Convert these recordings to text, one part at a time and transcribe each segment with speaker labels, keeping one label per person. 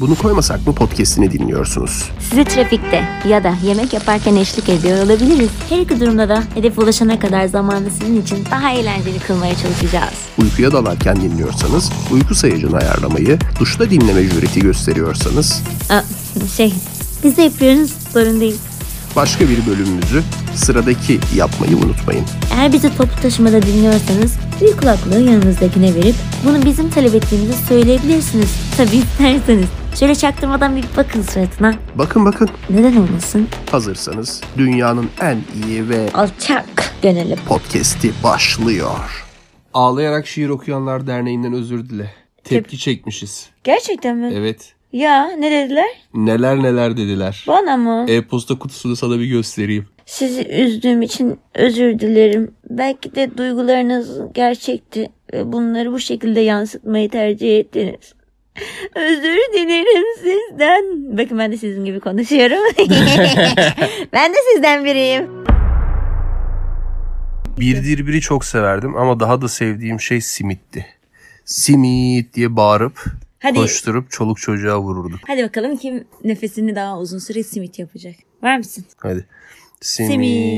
Speaker 1: Bunu koymasak mı podcastini dinliyorsunuz?
Speaker 2: Sizi trafikte ya da yemek yaparken eşlik ediyor olabiliriz. Her iki durumda da hedefe ulaşana kadar zamanı sizin için daha eğlenceli kılmaya çalışacağız.
Speaker 1: Uykuya dalarken dinliyorsanız uyku sayacını ayarlamayı, duşta dinleme jüreti gösteriyorsanız
Speaker 2: Aa, şey, biz de yapıyoruz, sorun değil.
Speaker 1: başka bir bölümümüzü sıradaki yapmayı unutmayın.
Speaker 2: Eğer bizi toplu taşımada dinliyorsanız bir kulaklığı yanınızdakine verip bunu bizim talep ettiğimizi söyleyebilirsiniz. Tabii isterseniz. Şöyle çaktırmadan bir bakın suratına.
Speaker 1: Bakın bakın
Speaker 2: Neden olmasın?
Speaker 1: hazırsanız dünyanın en iyi ve
Speaker 2: Alçak gönüllü.
Speaker 1: podcast'i başlıyor. Ağlayarak Şiir Okuyanlar Derneği'nden özür dile. Tepki çekmişiz.
Speaker 2: Gerçekten mi?
Speaker 1: Evet.
Speaker 2: Ya ne dediler?
Speaker 1: Neler neler dediler.
Speaker 2: Bana mı?
Speaker 1: E-posta kutusunu sana bir göstereyim.
Speaker 2: Sizi üzdüğüm için özür dilerim. Belki de duygularınız gerçekti ve bunları bu şekilde yansıtmayı tercih ettiniz. Özür dilerim sizden. Bakın ben de sizin gibi konuşuyorum. ben de sizden biriyim.
Speaker 1: Bir dirbiri çok severdim ama daha da sevdiğim şey simitti. Simit diye bağırıp
Speaker 3: Hadi
Speaker 1: koşturup çoluk çocuğa vururduk.
Speaker 3: hadi bakalım kim nefesini daha uzun süre simit yapacak. Var mısın?
Speaker 1: Hadi. Ee,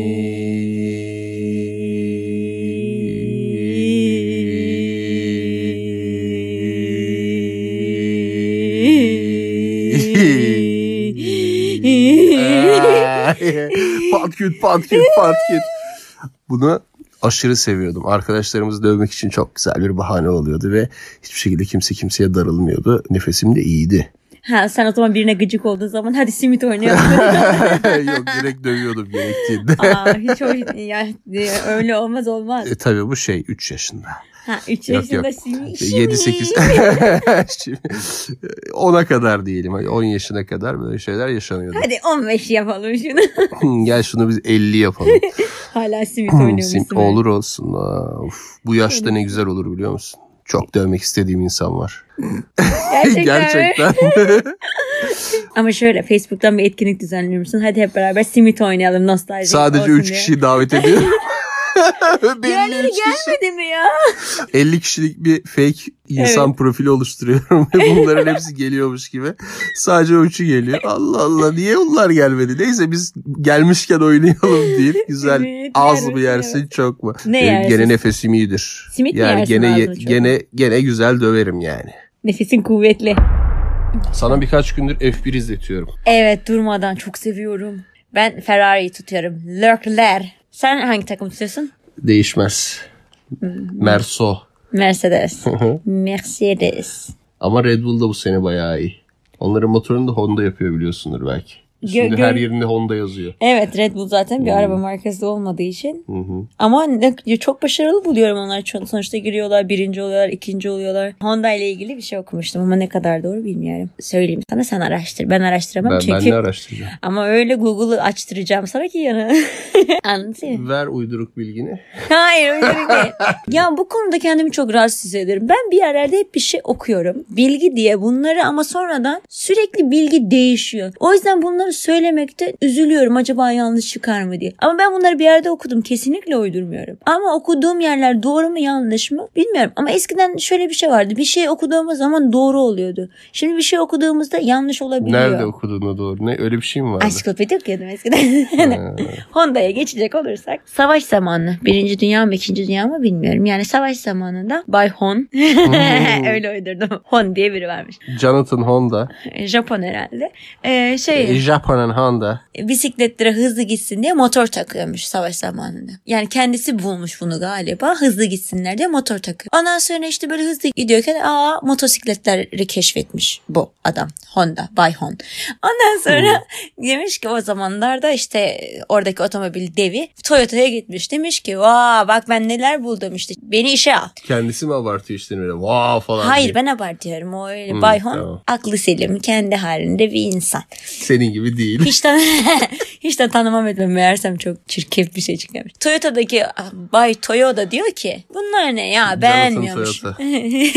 Speaker 1: Simit. patküt patküt patküt. Bunu aşırı seviyordum. Arkadaşlarımızı dövmek için çok güzel bir bahane oluyordu ve hiçbir şekilde kimse kimseye darılmıyordu. Nefesim de iyiydi.
Speaker 3: ha sen o zaman birine gıcık olduğun zaman hadi simit oynayalım.
Speaker 1: Yok direkt dövüyordum gerektiğinde.
Speaker 3: Aa, hiç o, ya, e, öyle olmaz olmaz.
Speaker 1: E, tabii bu şey 3 yaşında.
Speaker 3: Ha 3
Speaker 1: Yok,
Speaker 3: yaşında
Speaker 1: yok.
Speaker 3: simit.
Speaker 1: 7-8 10'a e, kadar diyelim. Hani 10 yaşına kadar böyle şeyler yaşanıyordu.
Speaker 3: Hadi 15 yapalım şunu.
Speaker 1: Gel şunu biz 50 yapalım.
Speaker 3: Hala simit oynuyormuşsun.
Speaker 1: Sim- Hmm, olur olsun. Aa, Of, bu yaşta ne güzel olur biliyor musun? Çok dövmek istediğim insan var.
Speaker 3: Gerçekten. mi?
Speaker 1: Gerçekten.
Speaker 3: Ama şöyle Facebook'tan bir etkinlik düzenliyor musun? Hadi hep beraber simit oynayalım nostalji
Speaker 1: Sadece
Speaker 3: olsun
Speaker 1: 3
Speaker 3: diye.
Speaker 1: kişiyi davet ediyorum. Belli
Speaker 3: Diğerleri
Speaker 1: üç kişi.
Speaker 3: gelmedi mi ya?
Speaker 1: 50 kişilik bir fake insan profili oluşturuyorum ve bunların hepsi geliyormuş gibi. Sadece o üçü geliyor. Allah Allah niye onlar gelmedi? Neyse biz gelmişken oynayalım deyip güzel
Speaker 3: Evet,
Speaker 1: az
Speaker 3: evet,
Speaker 1: mı yersin çok mu?
Speaker 3: şey Ne
Speaker 1: Benim
Speaker 3: yersin?
Speaker 1: Gene nefesim iyidir.
Speaker 3: Simit mi
Speaker 1: yani
Speaker 3: yersin,
Speaker 1: gene
Speaker 3: az
Speaker 1: ye-
Speaker 3: mı, çok mu?
Speaker 1: gene gene güzel döverim yani.
Speaker 3: Nefesin kuvvetli.
Speaker 1: Sana birkaç gündür F1 izletiyorum.
Speaker 3: Evet durmadan çok seviyorum. Ben Ferrari'yi tutuyorum. Leclerc. Sen hangi takım tutuyorsun?
Speaker 1: Değişmez.
Speaker 3: Hmm.
Speaker 1: Merso.
Speaker 3: Mercedes. Mercedes.
Speaker 1: Ama Red Bull da bu sene bayağı iyi. Onların motorunu da Honda yapıyor biliyorsundur belki. Şimdi
Speaker 3: Gö-
Speaker 1: her
Speaker 3: gö-
Speaker 1: yerinde Honda yazıyor.
Speaker 3: Evet Red Bull zaten bir araba markası olmadığı için.
Speaker 1: Hı hı.
Speaker 3: Ama ne- çok başarılı buluyorum onlar. Ço- Sonuçta giriyorlar birinci oluyorlar ikinci oluyorlar. Honda ile ilgili bir şey okumuştum ama ne kadar doğru bilmiyorum. Söyleyeyim sana sen araştır. Ben araştıramam
Speaker 1: Ben, ben
Speaker 3: çünkü.
Speaker 1: ne araştıracağım?
Speaker 3: ama öyle Google'ı açtıracağım sana ki yana. Anlatayım.
Speaker 1: Ver uyduruk bilgini.
Speaker 3: Hayır öyle değil. ya bu konuda kendimi çok rahatsız ederim. Ben bir yerlerde hep bir şey okuyorum. Bilgi diye bunları ama sonradan sürekli bilgi değişiyor. O yüzden bunları söylemekte üzülüyorum. Acaba yanlış çıkar mı diye. Ama ben bunları bir yerde okudum. Kesinlikle uydurmuyorum. Ama okuduğum yerler doğru mu yanlış mı bilmiyorum. Ama eskiden şöyle bir şey vardı. Bir şey okuduğumuz zaman doğru oluyordu. Şimdi bir şey okuduğumuzda yanlış olabiliyor.
Speaker 1: Nerede okuduğunu doğru. Ne öyle bir şey mi vardı? Ee,
Speaker 3: Ansiklopedi okuyordum eskiden.
Speaker 1: Ha.
Speaker 3: Honda'ya geçecek olursak. Savaş zamanı. Birinci dünya mı ikinci dünya mı bilmiyorum. Yani savaş zamanında Bay Hon. Öyle uydurdum. Hon diye biri varmış.
Speaker 1: Jonathan Honda.
Speaker 3: Japon herhalde. Ee, şey
Speaker 1: E, Japan'ın Honda.
Speaker 3: bisikletlere hızlı gitsin diye motor takıyormuş savaş zamanında. Yani kendisi bulmuş bunu galiba. Hızlı gitsinler diye motor takıyor. Ondan sonra işte böyle hızlı gidiyorken aa motosikletleri keşfetmiş bu adam. Honda, Bay Hon. Ondan sonra demiş ki o zamanlarda işte oradaki otomobil devi Toyota'ya gitmiş. Demiş ki vaa bak ben neler buldum işte beni işe al.
Speaker 1: Kendisi mi abartıyor işte böyle vaa falan
Speaker 3: Hayır
Speaker 1: diye.
Speaker 3: ben abartıyorum o öyle
Speaker 1: Hı,
Speaker 3: Bay Hon
Speaker 1: tamam.
Speaker 3: aklı selim kendi halinde bir insan.
Speaker 1: Senin gibi değil.
Speaker 3: Hiç de, hiç de tanımam etmem. Meğersem çok çirkef bir şey çıkmış. Toyota'daki ah, Bay Toyota diyor ki bunlar ne ya beğenmiyormuş.
Speaker 1: Toyota.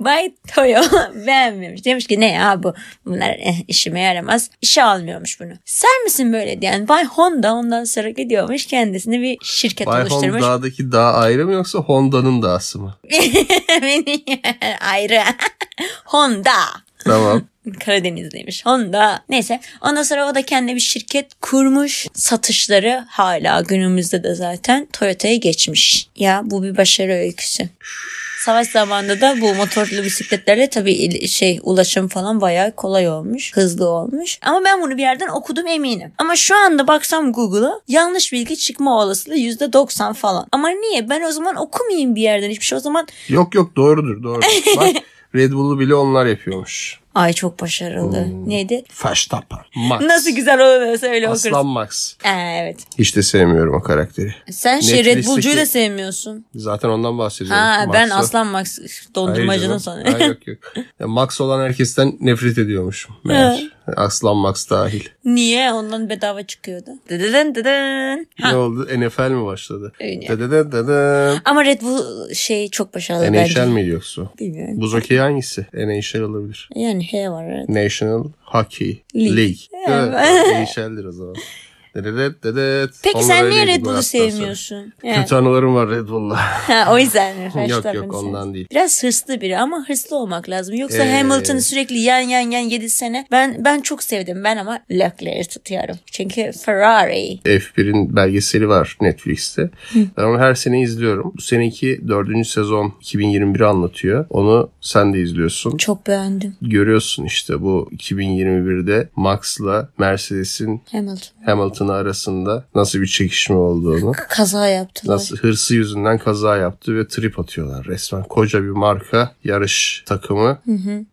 Speaker 3: Bay Toyo beğenmiyormuş. Demiş ki ne ya bu bunlar eh, işime yaramaz. İşe almıyormuş bunu. Sen misin böyle diyen Bay Honda ondan sonra gidiyormuş kendisine bir şirket
Speaker 1: Bay
Speaker 3: oluşturmuş.
Speaker 1: Honda'daki dağ ayrı mı yoksa Honda'nın dağısı mı?
Speaker 3: Beni ayrı. Honda.
Speaker 1: Tamam.
Speaker 3: Karadenizliymiş Honda. Neyse ondan sonra o da kendi bir şirket kurmuş. Satışları hala günümüzde de zaten Toyota'ya geçmiş. Ya bu bir başarı öyküsü. Savaş zamanında da bu motorlu bisikletlerle tabii il- şey ulaşım falan bayağı kolay olmuş. Hızlı olmuş. Ama ben bunu bir yerden okudum eminim. Ama şu anda baksam Google'a yanlış bilgi çıkma olasılığı %90 falan. Ama niye? Ben o zaman okumayayım bir yerden hiçbir şey. O zaman
Speaker 1: Yok yok doğrudur doğru. Bak Red Bull'u bile onlar yapıyormuş.
Speaker 3: ay çok başarılı. Neydi?
Speaker 1: Verstappen. Max.
Speaker 3: Nasıl güzel olur öyle
Speaker 1: Aslan
Speaker 3: okursun.
Speaker 1: Max.
Speaker 3: Ee, evet.
Speaker 1: Hiç de sevmiyorum o karakteri.
Speaker 3: Sen şey Red
Speaker 1: Netflix'teki-
Speaker 3: Bull'cuyu da sevmiyorsun.
Speaker 1: Zaten ondan bahsediyorum.
Speaker 3: Ha ben
Speaker 1: Max'la.
Speaker 3: Aslan Max
Speaker 1: Hayır
Speaker 3: dondurmacının
Speaker 1: canım.
Speaker 3: sanıyorum.
Speaker 1: Hayır, yok yok. Ya Max olan herkesten nefret ediyormuşum. Meğer. Aslan Max dahil.
Speaker 3: Niye? Ondan bedava çıkıyordu. Dıdıdın dıdın. Ha.
Speaker 1: Ne oldu? NFL mi başladı?
Speaker 3: Öyle.
Speaker 1: Dadadın dadın.
Speaker 3: Ama Red Bull şey çok başarılı
Speaker 1: NHL
Speaker 3: bence.
Speaker 1: miydi yoksa?
Speaker 3: Bilmiyorum.
Speaker 1: Buz hokeyi hangisi? NHL olabilir.
Speaker 3: Yani H var evet.
Speaker 1: National Hockey
Speaker 3: League.
Speaker 1: League.
Speaker 3: Evet.
Speaker 1: Evet, NHL'dir o zaman. Dedet, dedet.
Speaker 3: Peki
Speaker 1: Onlar
Speaker 3: sen
Speaker 1: öyle
Speaker 3: niye
Speaker 1: gidiyor
Speaker 3: Red Bull'u
Speaker 1: hatta sonra.
Speaker 3: sevmiyorsun? Evet.
Speaker 1: Kötü anılarım var Red Bull'la.
Speaker 3: Ha, o yüzden mi?
Speaker 1: yok
Speaker 3: Verstappen
Speaker 1: yok
Speaker 3: sevmiyorsun.
Speaker 1: ondan değil.
Speaker 3: Biraz hırslı biri ama hırslı olmak lazım. Yoksa
Speaker 1: Ee.
Speaker 3: Hamilton'ı sürekli yan yan yan 7 sene. Ben ben çok sevdim ben ama Leclerc'i tutuyorum. Çünkü Ferrari.
Speaker 1: F1'in belgeseli var Netflix'te. Ben onu her sene izliyorum. Bu seneki dördüncü sezon 2021'i anlatıyor. Onu sen de izliyorsun.
Speaker 3: Çok beğendim
Speaker 1: Görüyorsun işte bu 2021'de Max'la Mercedes'in
Speaker 3: Hamilton.
Speaker 1: Hamilton arasında nasıl bir çekişme olduğunu.
Speaker 3: Kaza yaptılar.
Speaker 1: Nasıl hırsı yüzünden kaza yaptı ve trip atıyorlar resmen. Koca bir marka yarış takımı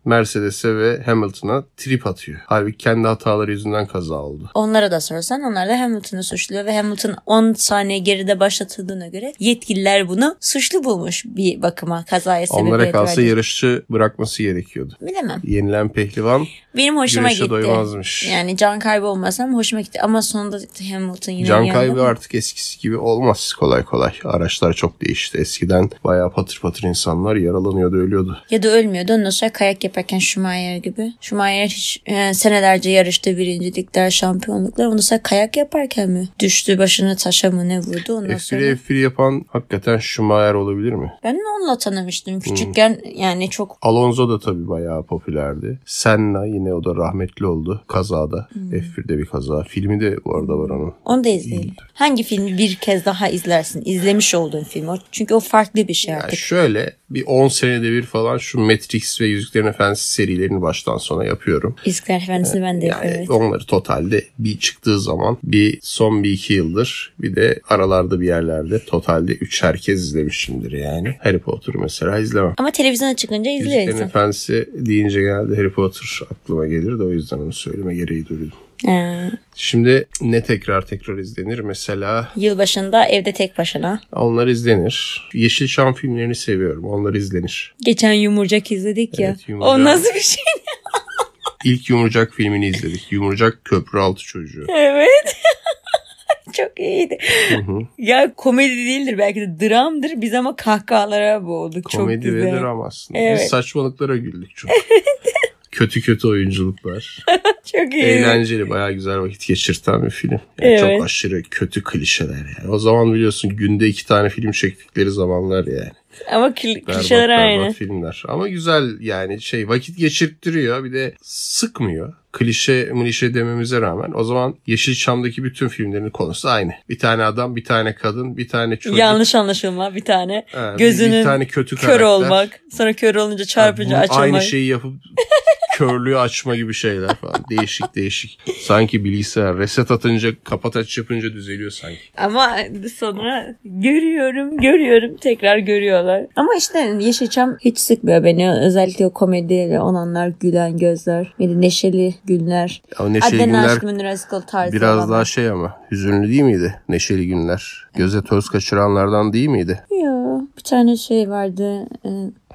Speaker 1: Mercedes'e ve Hamilton'a trip atıyor. Halbuki kendi hataları yüzünden kaza oldu.
Speaker 3: Onlara da sorsan onlar da Hamilton'ı suçluyor ve Hamilton 10 saniye geride başlatıldığına göre yetkililer bunu suçlu bulmuş bir bakıma kazaya sebebiyet
Speaker 1: Onlara kalsa
Speaker 3: verdi.
Speaker 1: yarışçı bırakması gerekiyordu.
Speaker 3: Bilemem.
Speaker 1: Yenilen pehlivan
Speaker 3: Benim hoşuma
Speaker 1: güreşe
Speaker 3: gitti.
Speaker 1: doymazmış.
Speaker 3: Yani can kaybı olmasam hoşuma gitti ama sonunda Hamilton yine
Speaker 1: Can
Speaker 3: yendi.
Speaker 1: kaybı artık eskisi gibi olmaz kolay kolay. Araçlar çok değişti. Eskiden bayağı patır patır insanlar yaralanıyordu, ölüyordu.
Speaker 3: Ya da ölmüyordu. Ondan sonra kayak yaparken Schumacher gibi. Schumacher hiç e, senelerce yarıştı birincilikler, şampiyonluklar. Ondan sonra kayak yaparken mi? Düştü başını taşa mı ne vurdu ondan sonra.
Speaker 1: F1'i F1 yapan hakikaten Schumacher olabilir mi?
Speaker 3: Ben de onunla tanımıştım. Küçükken yani çok
Speaker 1: Alonso da tabii bayağı popülerdi. Senna yine o da rahmetli oldu kazada. F1'de bir kaza. Filmi de bu arada var onun.
Speaker 3: onu da izleyelim. Hangi filmi bir kez daha izlersin? İzlemiş olduğun film o. Çünkü o farklı bir şey
Speaker 1: Yani
Speaker 3: artık.
Speaker 1: şöyle bir 10 senede bir falan şu Matrix ve Yüzüklerin Efendisi serilerini baştan sona yapıyorum.
Speaker 3: İzler Efendisi'ni ben de
Speaker 1: Yani
Speaker 3: yapıyorum.
Speaker 1: E, onları totalde bir çıktığı zaman bir son bir iki yıldır bir de aralarda bir yerlerde totalde 3 herkes izlemişimdir yani. Harry Potter mesela izlemem.
Speaker 3: Ama televizyona çıkınca izliyor
Speaker 1: Yüzüklerin
Speaker 3: insan.
Speaker 1: Efendisi deyince geldi Harry Potter aklıma gelir de o yüzden onu söyleme gereği duydum.
Speaker 3: Ha.
Speaker 1: Şimdi ne tekrar tekrar izlenir? Mesela
Speaker 3: Yılbaşında evde tek başına.
Speaker 1: onlar izlenir. Yeşilçam filmlerini seviyorum. Onlar izlenir.
Speaker 3: Geçen Yumurcak izledik ya.
Speaker 1: Evet, Yumurcak.
Speaker 3: o nasıl bir şey?
Speaker 1: İlk Yumurcak filmini izledik. Yumurcak Köprüaltı Çocuğu.
Speaker 3: Evet. Çok iyiydi.
Speaker 1: hı.
Speaker 3: ya komedi değildir belki de dramdır. Biz ama kahkahalara boğulduk. Çok
Speaker 1: Komedi
Speaker 3: güzel.
Speaker 1: ve dram aslında.
Speaker 3: Evet.
Speaker 1: Biz saçmalıklara güldük çok. kötü kötü oyunculuklar.
Speaker 3: Çok iyi.
Speaker 1: Eğlenceli, bayağı güzel vakit geçirten bir film. Yani
Speaker 3: Evet.
Speaker 1: Çok aşırı kötü klişeler yani. O zaman biliyorsun günde iki tane film çektikleri zamanlar yani.
Speaker 3: Ama kli-
Speaker 1: Berbat,
Speaker 3: klişeler
Speaker 1: berbat
Speaker 3: aynı.
Speaker 1: filmler. Ama güzel yani şey vakit geçirttiriyor bir de sıkmıyor. Klişe mlişe dememize rağmen o zaman Yeşilçam'daki bütün filmlerin konusu aynı. Bir tane adam, bir tane kadın, bir tane çocuk.
Speaker 3: Yanlış anlaşılma bir tane.
Speaker 1: Ha, bir-
Speaker 3: Gözünün
Speaker 1: bir tane kötü
Speaker 3: Kör
Speaker 1: karakter.
Speaker 3: olmak. Sonra kör olunca çarpınca
Speaker 1: Ha, bu-
Speaker 3: açılmak.
Speaker 1: Aynı şey- şeyi yapıp körlüğü açma gibi şeyler falan. Değişik değişik. Sanki bilgisayar reset atınca kapat aç yapınca düzeliyor sanki.
Speaker 3: Ama sonra görüyorum, görüyorum, tekrar görüyorlar. Ama işte Yeşilçam hiç sıkmıyor beni. Özellikle o komediyle olanlar, gülen gözler, böyle neşeli günler.
Speaker 1: Ama Neşeli
Speaker 3: Adnan
Speaker 1: Günler
Speaker 3: Aşkı Münir Özkul tarzı
Speaker 1: biraz
Speaker 3: olanlar.
Speaker 1: daha şey ama hüzünlü değil miydi Neşeli Günler? Göze toz kaçıranlardan değil miydi?
Speaker 3: Ya bir tane şey vardı. e,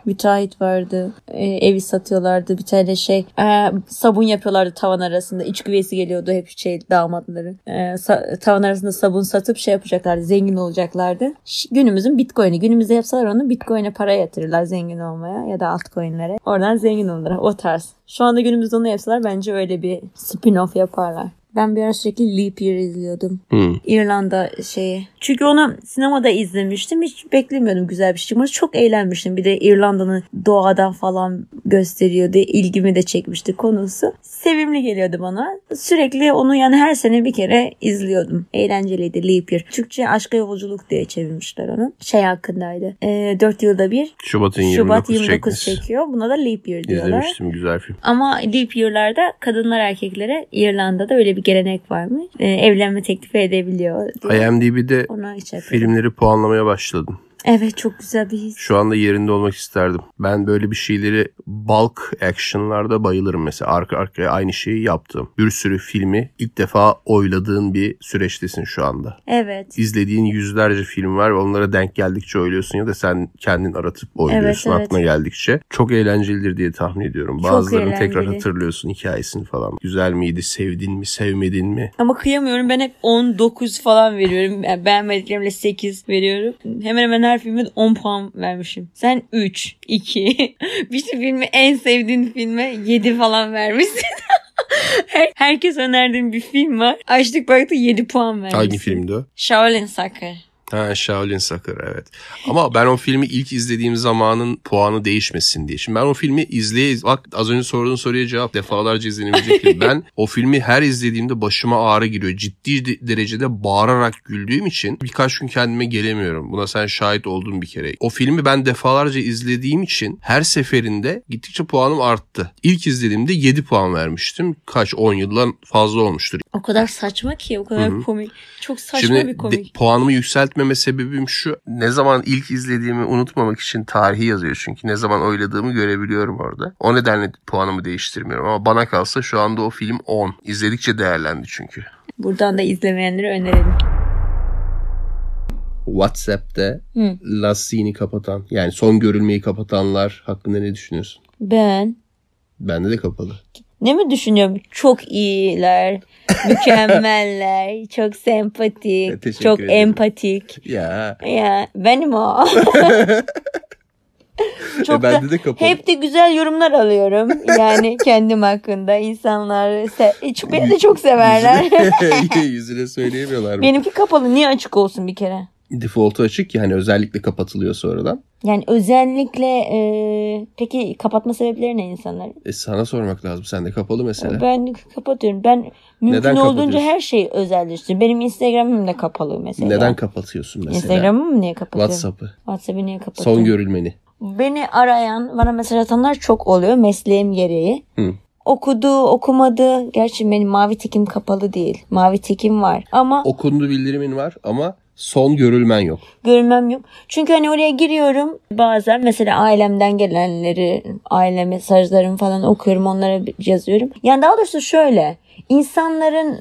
Speaker 3: müteahhit vardı. E, evi satıyorlardı. Bir tane şey e, sabun yapıyorlardı tavan arasında. İç güveysi geliyordu hep şey damatları. E, sa- tavan arasında sabun satıp şey yapacaklardı. Zengin olacaklardı. Ş- günümüzün bitcoin'i. Günümüzde yapsalar onu bitcoin'e para yatırırlar zengin olmaya ya da altcoin'lere. Oradan zengin olurlar. O tarz. Şu anda günümüzde onu yapsalar bence öyle bir spin-off yaparlar. Ben bir ara sürekli Leap Year izliyordum.
Speaker 1: Hı.
Speaker 3: İrlanda şeyi. Çünkü onu sinemada izlemiştim. Hiç beklemiyordum güzel bir şey çıkması. Çok eğlenmiştim. Bir de İrlanda'nın doğadan falan gösteriyordu. İlgimi de çekmişti konusu. Sevimli geliyordu bana. Sürekli onu yani her sene bir kere izliyordum. Eğlenceliydi Leap Year. Türkçe Aşka Yolculuk diye çevirmişler onu. Şey hakkındaydı. Ee, 4 yılda bir
Speaker 1: Şubat'ın 29
Speaker 3: Şubat 29
Speaker 1: çekmiş.
Speaker 3: çekiyor. Buna da Leap Year diyorlar.
Speaker 1: İzlemiştim güzel film.
Speaker 3: Ama leap year'larda kadınlar erkeklere İrlanda'da öyle bir gelenek varmış. Ee, evlenme teklifi edebiliyor. diye.
Speaker 1: IMDb'de
Speaker 3: Ona hiç yapıyorum.
Speaker 1: filmleri puanlamaya başladım.
Speaker 3: Evet çok güzel bir his.
Speaker 1: Şu anda yerinde olmak isterdim. Ben böyle bir şeyleri bulk action'larda bayılırım mesela. Arka arkaya aynı şeyi yaptım. Bir sürü filmi ilk defa oyladığın bir süreçtesin şu anda.
Speaker 3: Evet.
Speaker 1: İzlediğin yüzlerce film var ve onlara denk geldikçe oyluyorsun ya da sen kendin aratıp oyluyorsun
Speaker 3: Evet, evet.
Speaker 1: aklına geldikçe. Çok eğlencelidir diye tahmin ediyorum.
Speaker 3: Çok
Speaker 1: Bazılarını tekrar
Speaker 3: eğlenceli.
Speaker 1: hatırlıyorsun hikayesini falan. Güzel miydi, sevdin mi, sevmedin mi?
Speaker 3: Ama kıyamıyorum ben hep 19 falan veriyorum. Yani beğenmediklerimle 8 veriyorum. Hemen hemen her filmin 10 puan vermişim. Sen 3, 2. bir şey filmi en sevdiğin filme 7 falan vermişsin. Her- herkes önerdiğim bir film var. Açtık baktık 7 puan vermişsin.
Speaker 1: Hangi filmdi o?
Speaker 3: Shaolin Soccer.
Speaker 1: Ha Shaolin Soccer evet. Ama ben o filmi ilk izlediğim zamanın puanı değişmesin diye. Şimdi ben o filmi izleye... Bak az önce sorduğun soruya cevap defalarca izlenebilecek film. Ben o filmi her izlediğimde başıma ağrı giriyor. Ciddi de- derecede bağırarak güldüğüm için birkaç gün kendime gelemiyorum. Buna sen şahit oldun bir kere. O filmi ben defalarca izlediğim için her seferinde gittikçe puanım arttı. İlk izlediğimde 7 puan vermiştim. Kaç 10 yıldan fazla olmuştur.
Speaker 3: O kadar saçma ki o kadar
Speaker 1: Hı hı.
Speaker 3: komik. Çok saçma
Speaker 1: Şimdi
Speaker 3: bir
Speaker 1: de-
Speaker 3: komik.
Speaker 1: puanımı yükseltmeme sebebim şu. Ne zaman ilk izlediğimi unutmamak için tarihi yazıyor çünkü. Ne zaman oyladığımı görebiliyorum orada. O nedenle puanımı değiştirmiyorum. Ama bana kalsa şu anda o film 10. İzledikçe değerlendi çünkü.
Speaker 3: Buradan da izlemeyenlere önerelim.
Speaker 1: WhatsApp'te
Speaker 3: Hı.
Speaker 1: lastiğini kapatan yani son görülmeyi kapatanlar hakkında ne düşünüyorsun?
Speaker 3: Ben
Speaker 1: Bende de kapalı.
Speaker 3: ne mi düşünüyorum? Çok iyiler, mükemmeller, çok sempatik,
Speaker 1: E, Teşekkür
Speaker 3: çok
Speaker 1: ederim.
Speaker 3: empatik.
Speaker 1: Ya.
Speaker 3: Ya benim o. çok da,
Speaker 1: e, de kapalı.
Speaker 3: hep de güzel yorumlar alıyorum. Yani kendim hakkında insanlar se- çok- beni de çok severler.
Speaker 1: Yüzüne, söyleyemiyorlar.
Speaker 3: Benimki kapalı niye açık olsun bir kere?
Speaker 1: Default'u açık yani özellikle kapatılıyor sonradan.
Speaker 3: Yani özellikle e, peki kapatma sebepleri ne insanlar?
Speaker 1: E sana sormak lazım. Sende kapalı mesela.
Speaker 3: Ben kapatıyorum. Ben mümkün
Speaker 1: Neden
Speaker 3: olduğunca
Speaker 1: kapatıyorsun?
Speaker 3: her şeyi özelleştiriyorum. Benim Instagram'ım da kapalı mesela.
Speaker 1: Neden kapatıyorsun mesela?
Speaker 3: Instagram'ımı mı niye kapatıyorum?
Speaker 1: WhatsApp'ı.
Speaker 3: WhatsApp'ı niye kapatıyorum?
Speaker 1: Son görülmeni.
Speaker 3: Beni arayan, bana mesaj atanlar çok oluyor mesleğim gereği.
Speaker 1: Hı.
Speaker 3: Okudu, okumadı. Gerçi benim mavi tikim kapalı değil. Mavi tikim var. Ama
Speaker 1: Okundu bildirimin var ama son görülmen yok.
Speaker 3: görmem yok. Çünkü hani oraya giriyorum bazen mesela ailemden gelenleri, aile mesajlarımı falan okuyorum onlara yazıyorum. Yani daha doğrusu şöyle insanların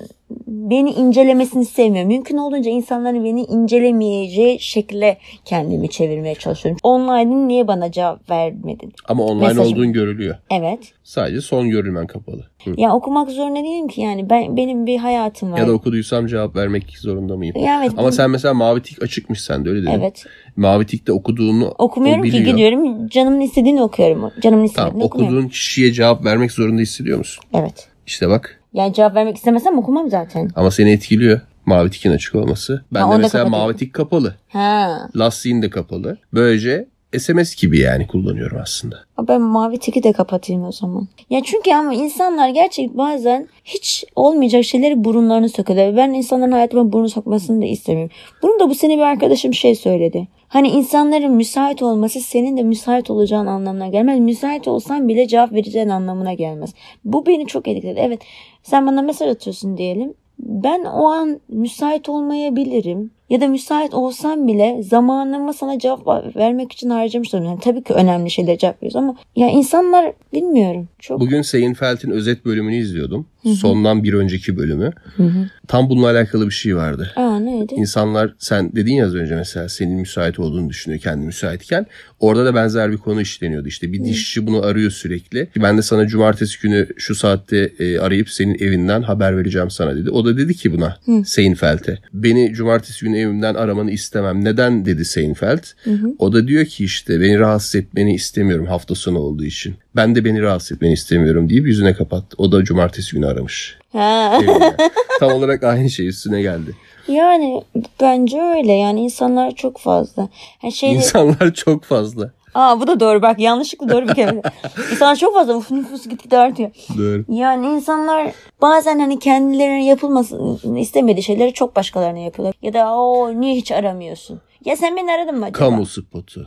Speaker 3: beni incelemesini sevmiyorum. Mümkün olduğunca insanların beni incelemeyeceği şekilde kendimi çevirmeye çalışıyorum. Online'ın niye bana cevap vermedin?
Speaker 1: Ama online
Speaker 3: Mesajım.
Speaker 1: olduğun görülüyor.
Speaker 3: Evet.
Speaker 1: Sadece son görülmen kapalı. Hı.
Speaker 3: Ya okumak zorunda değilim ki yani ben benim bir hayatım var.
Speaker 1: Ya da okuduysam cevap vermek zorunda mıyım?
Speaker 3: Ya evet.
Speaker 1: Ama sen mesela mavi tik açıkmış sende öyle değil mi?
Speaker 3: Evet.
Speaker 1: Mavi tikte okuduğunu
Speaker 3: Okumuyorum
Speaker 1: o
Speaker 3: ki
Speaker 1: biliyor.
Speaker 3: gidiyorum canımın istediğini okuyorum. Canımın istediğini
Speaker 1: Tamam,
Speaker 3: okumuyorum.
Speaker 1: okuduğun kişiye cevap vermek zorunda hissediyor musun?
Speaker 3: Evet.
Speaker 1: İşte bak
Speaker 3: Yani cevap vermek istemesem okumam zaten.
Speaker 1: ama seni etkiliyor mavi tikin açık olması. Ben
Speaker 3: onu
Speaker 1: de
Speaker 3: da
Speaker 1: mesela
Speaker 3: kapatıyorum.
Speaker 1: mavi tik kapalı.
Speaker 3: Ha.
Speaker 1: Lastiğin de kapalı. Böylece SMS gibi yani kullanıyorum aslında.
Speaker 3: Ben mavi tiki de kapatayım o zaman. Ya çünkü ama insanlar gerçek bazen hiç olmayacak şeyleri burunlarını sokuyorlar. Ben insanların hayatıma burun sokmasını da istemiyorum. Bunu da bu sene bir arkadaşım şey söyledi. Hani insanların müsait olması senin de müsait olacağın anlamına gelmez. Müsait olsan bile cevap vereceğin anlamına gelmez. Bu beni çok etkiledi. Evet sen bana mesaj atıyorsun diyelim. Ben o an müsait olmayabilirim ya da müsait olsam bile zamanımı sana cevap vermek için harcamış olurum. Yani tabii ki önemli şeylere cevap veriyoruz ama ya insanlar bilmiyorum çok.
Speaker 1: Bugün Seinfeld'in özet bölümünü izliyordum. Sondan bir önceki bölümü.
Speaker 3: Hı hı.
Speaker 1: Tam bununla alakalı bir şey vardı.
Speaker 3: Aa neydi?
Speaker 1: İnsanlar sen dedin ya az önce mesela senin müsait olduğunu düşünüyor kendi müsaitken. Orada da benzer bir konu işleniyordu. İşte bir dişçi bunu arıyor sürekli. Ben de sana cumartesi günü şu saatte e, arayıp senin evinden haber vereceğim sana dedi. O da dedi ki buna Seinfeld'e. Beni cumartesi günü beni evimden aramanı istemem. Neden dedi Seinfeld.
Speaker 4: Hı hı.
Speaker 1: O da diyor ki işte beni rahatsız etmeni istemiyorum hafta sonu olduğu için. Ben de beni rahatsız etmeni istemiyorum deyip yüzüne kapattı. O da cumartesi günü aramış.
Speaker 3: Ha.
Speaker 1: Evine. Tam olarak aynı şey üstüne geldi.
Speaker 3: Yani bence öyle. Yani insanlar çok fazla. Her şeyde...
Speaker 1: İnsanlar çok fazla.
Speaker 3: Aa bu da doğru bak yanlışlıkla doğru bir kelime. İnsanlar çok fazla uf nüfus gitgide artıyor.
Speaker 1: Doğru.
Speaker 3: Yani insanlar bazen hani kendilerine yapılmasını istemediği şeyleri çok başkalarına yapıyorlar. Ya da o niye hiç aramıyorsun? Ya sen beni aradın mı acaba?
Speaker 1: Kamu spotu.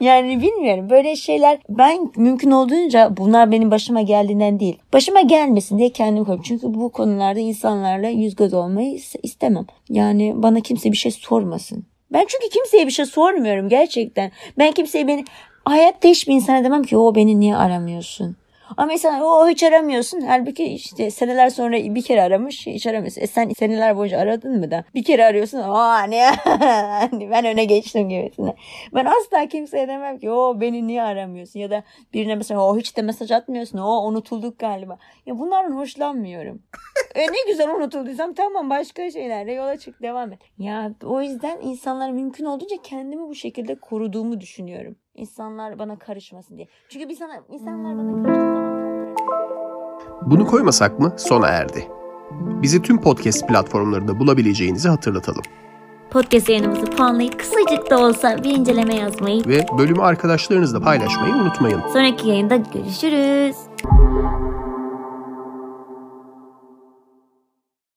Speaker 3: yani bilmiyorum böyle şeyler ben mümkün olduğunca bunlar benim başıma geldiğinden değil. Başıma gelmesin diye kendimi koyuyorum. Çünkü bu konularda insanlarla yüz göz olmayı is- istemem. Yani bana kimse bir şey sormasın. Ben çünkü kimseye bir şey sormuyorum gerçekten. Ben kimseye beni hayatta hiçbir insana demem ki o beni niye aramıyorsun? Ama mesela o hiç aramıyorsun. Halbuki işte seneler sonra bir kere aramış hiç aramıyorsun. E sen seneler boyunca aradın mı da? Bir kere arıyorsun. Aa ne? Hani ben öne geçtim gibisine. Ben asla kimseye demem ki o beni niye aramıyorsun? Ya da birine mesela o hiç de mesaj atmıyorsun. O unutulduk galiba. Ya bunlardan hoşlanmıyorum. e ne güzel unutulduysam tamam başka şeylerle yola çık devam et. Ya o yüzden insanlar mümkün olduğunca kendimi bu şekilde koruduğumu düşünüyorum. İnsanlar bana karışmasın diye. Çünkü bir sana, insanlar bana karıştığı zaman-
Speaker 1: Bunu koymasak mı sona erdi. Bizi tüm podcast platformlarında bulabileceğinizi hatırlatalım.
Speaker 3: Podcast yayınımızı puanlayıp kısacık da olsa bir inceleme yazmayı.
Speaker 1: Ve bölümü arkadaşlarınızla paylaşmayı unutmayın.
Speaker 3: Sonraki yayında görüşürüz.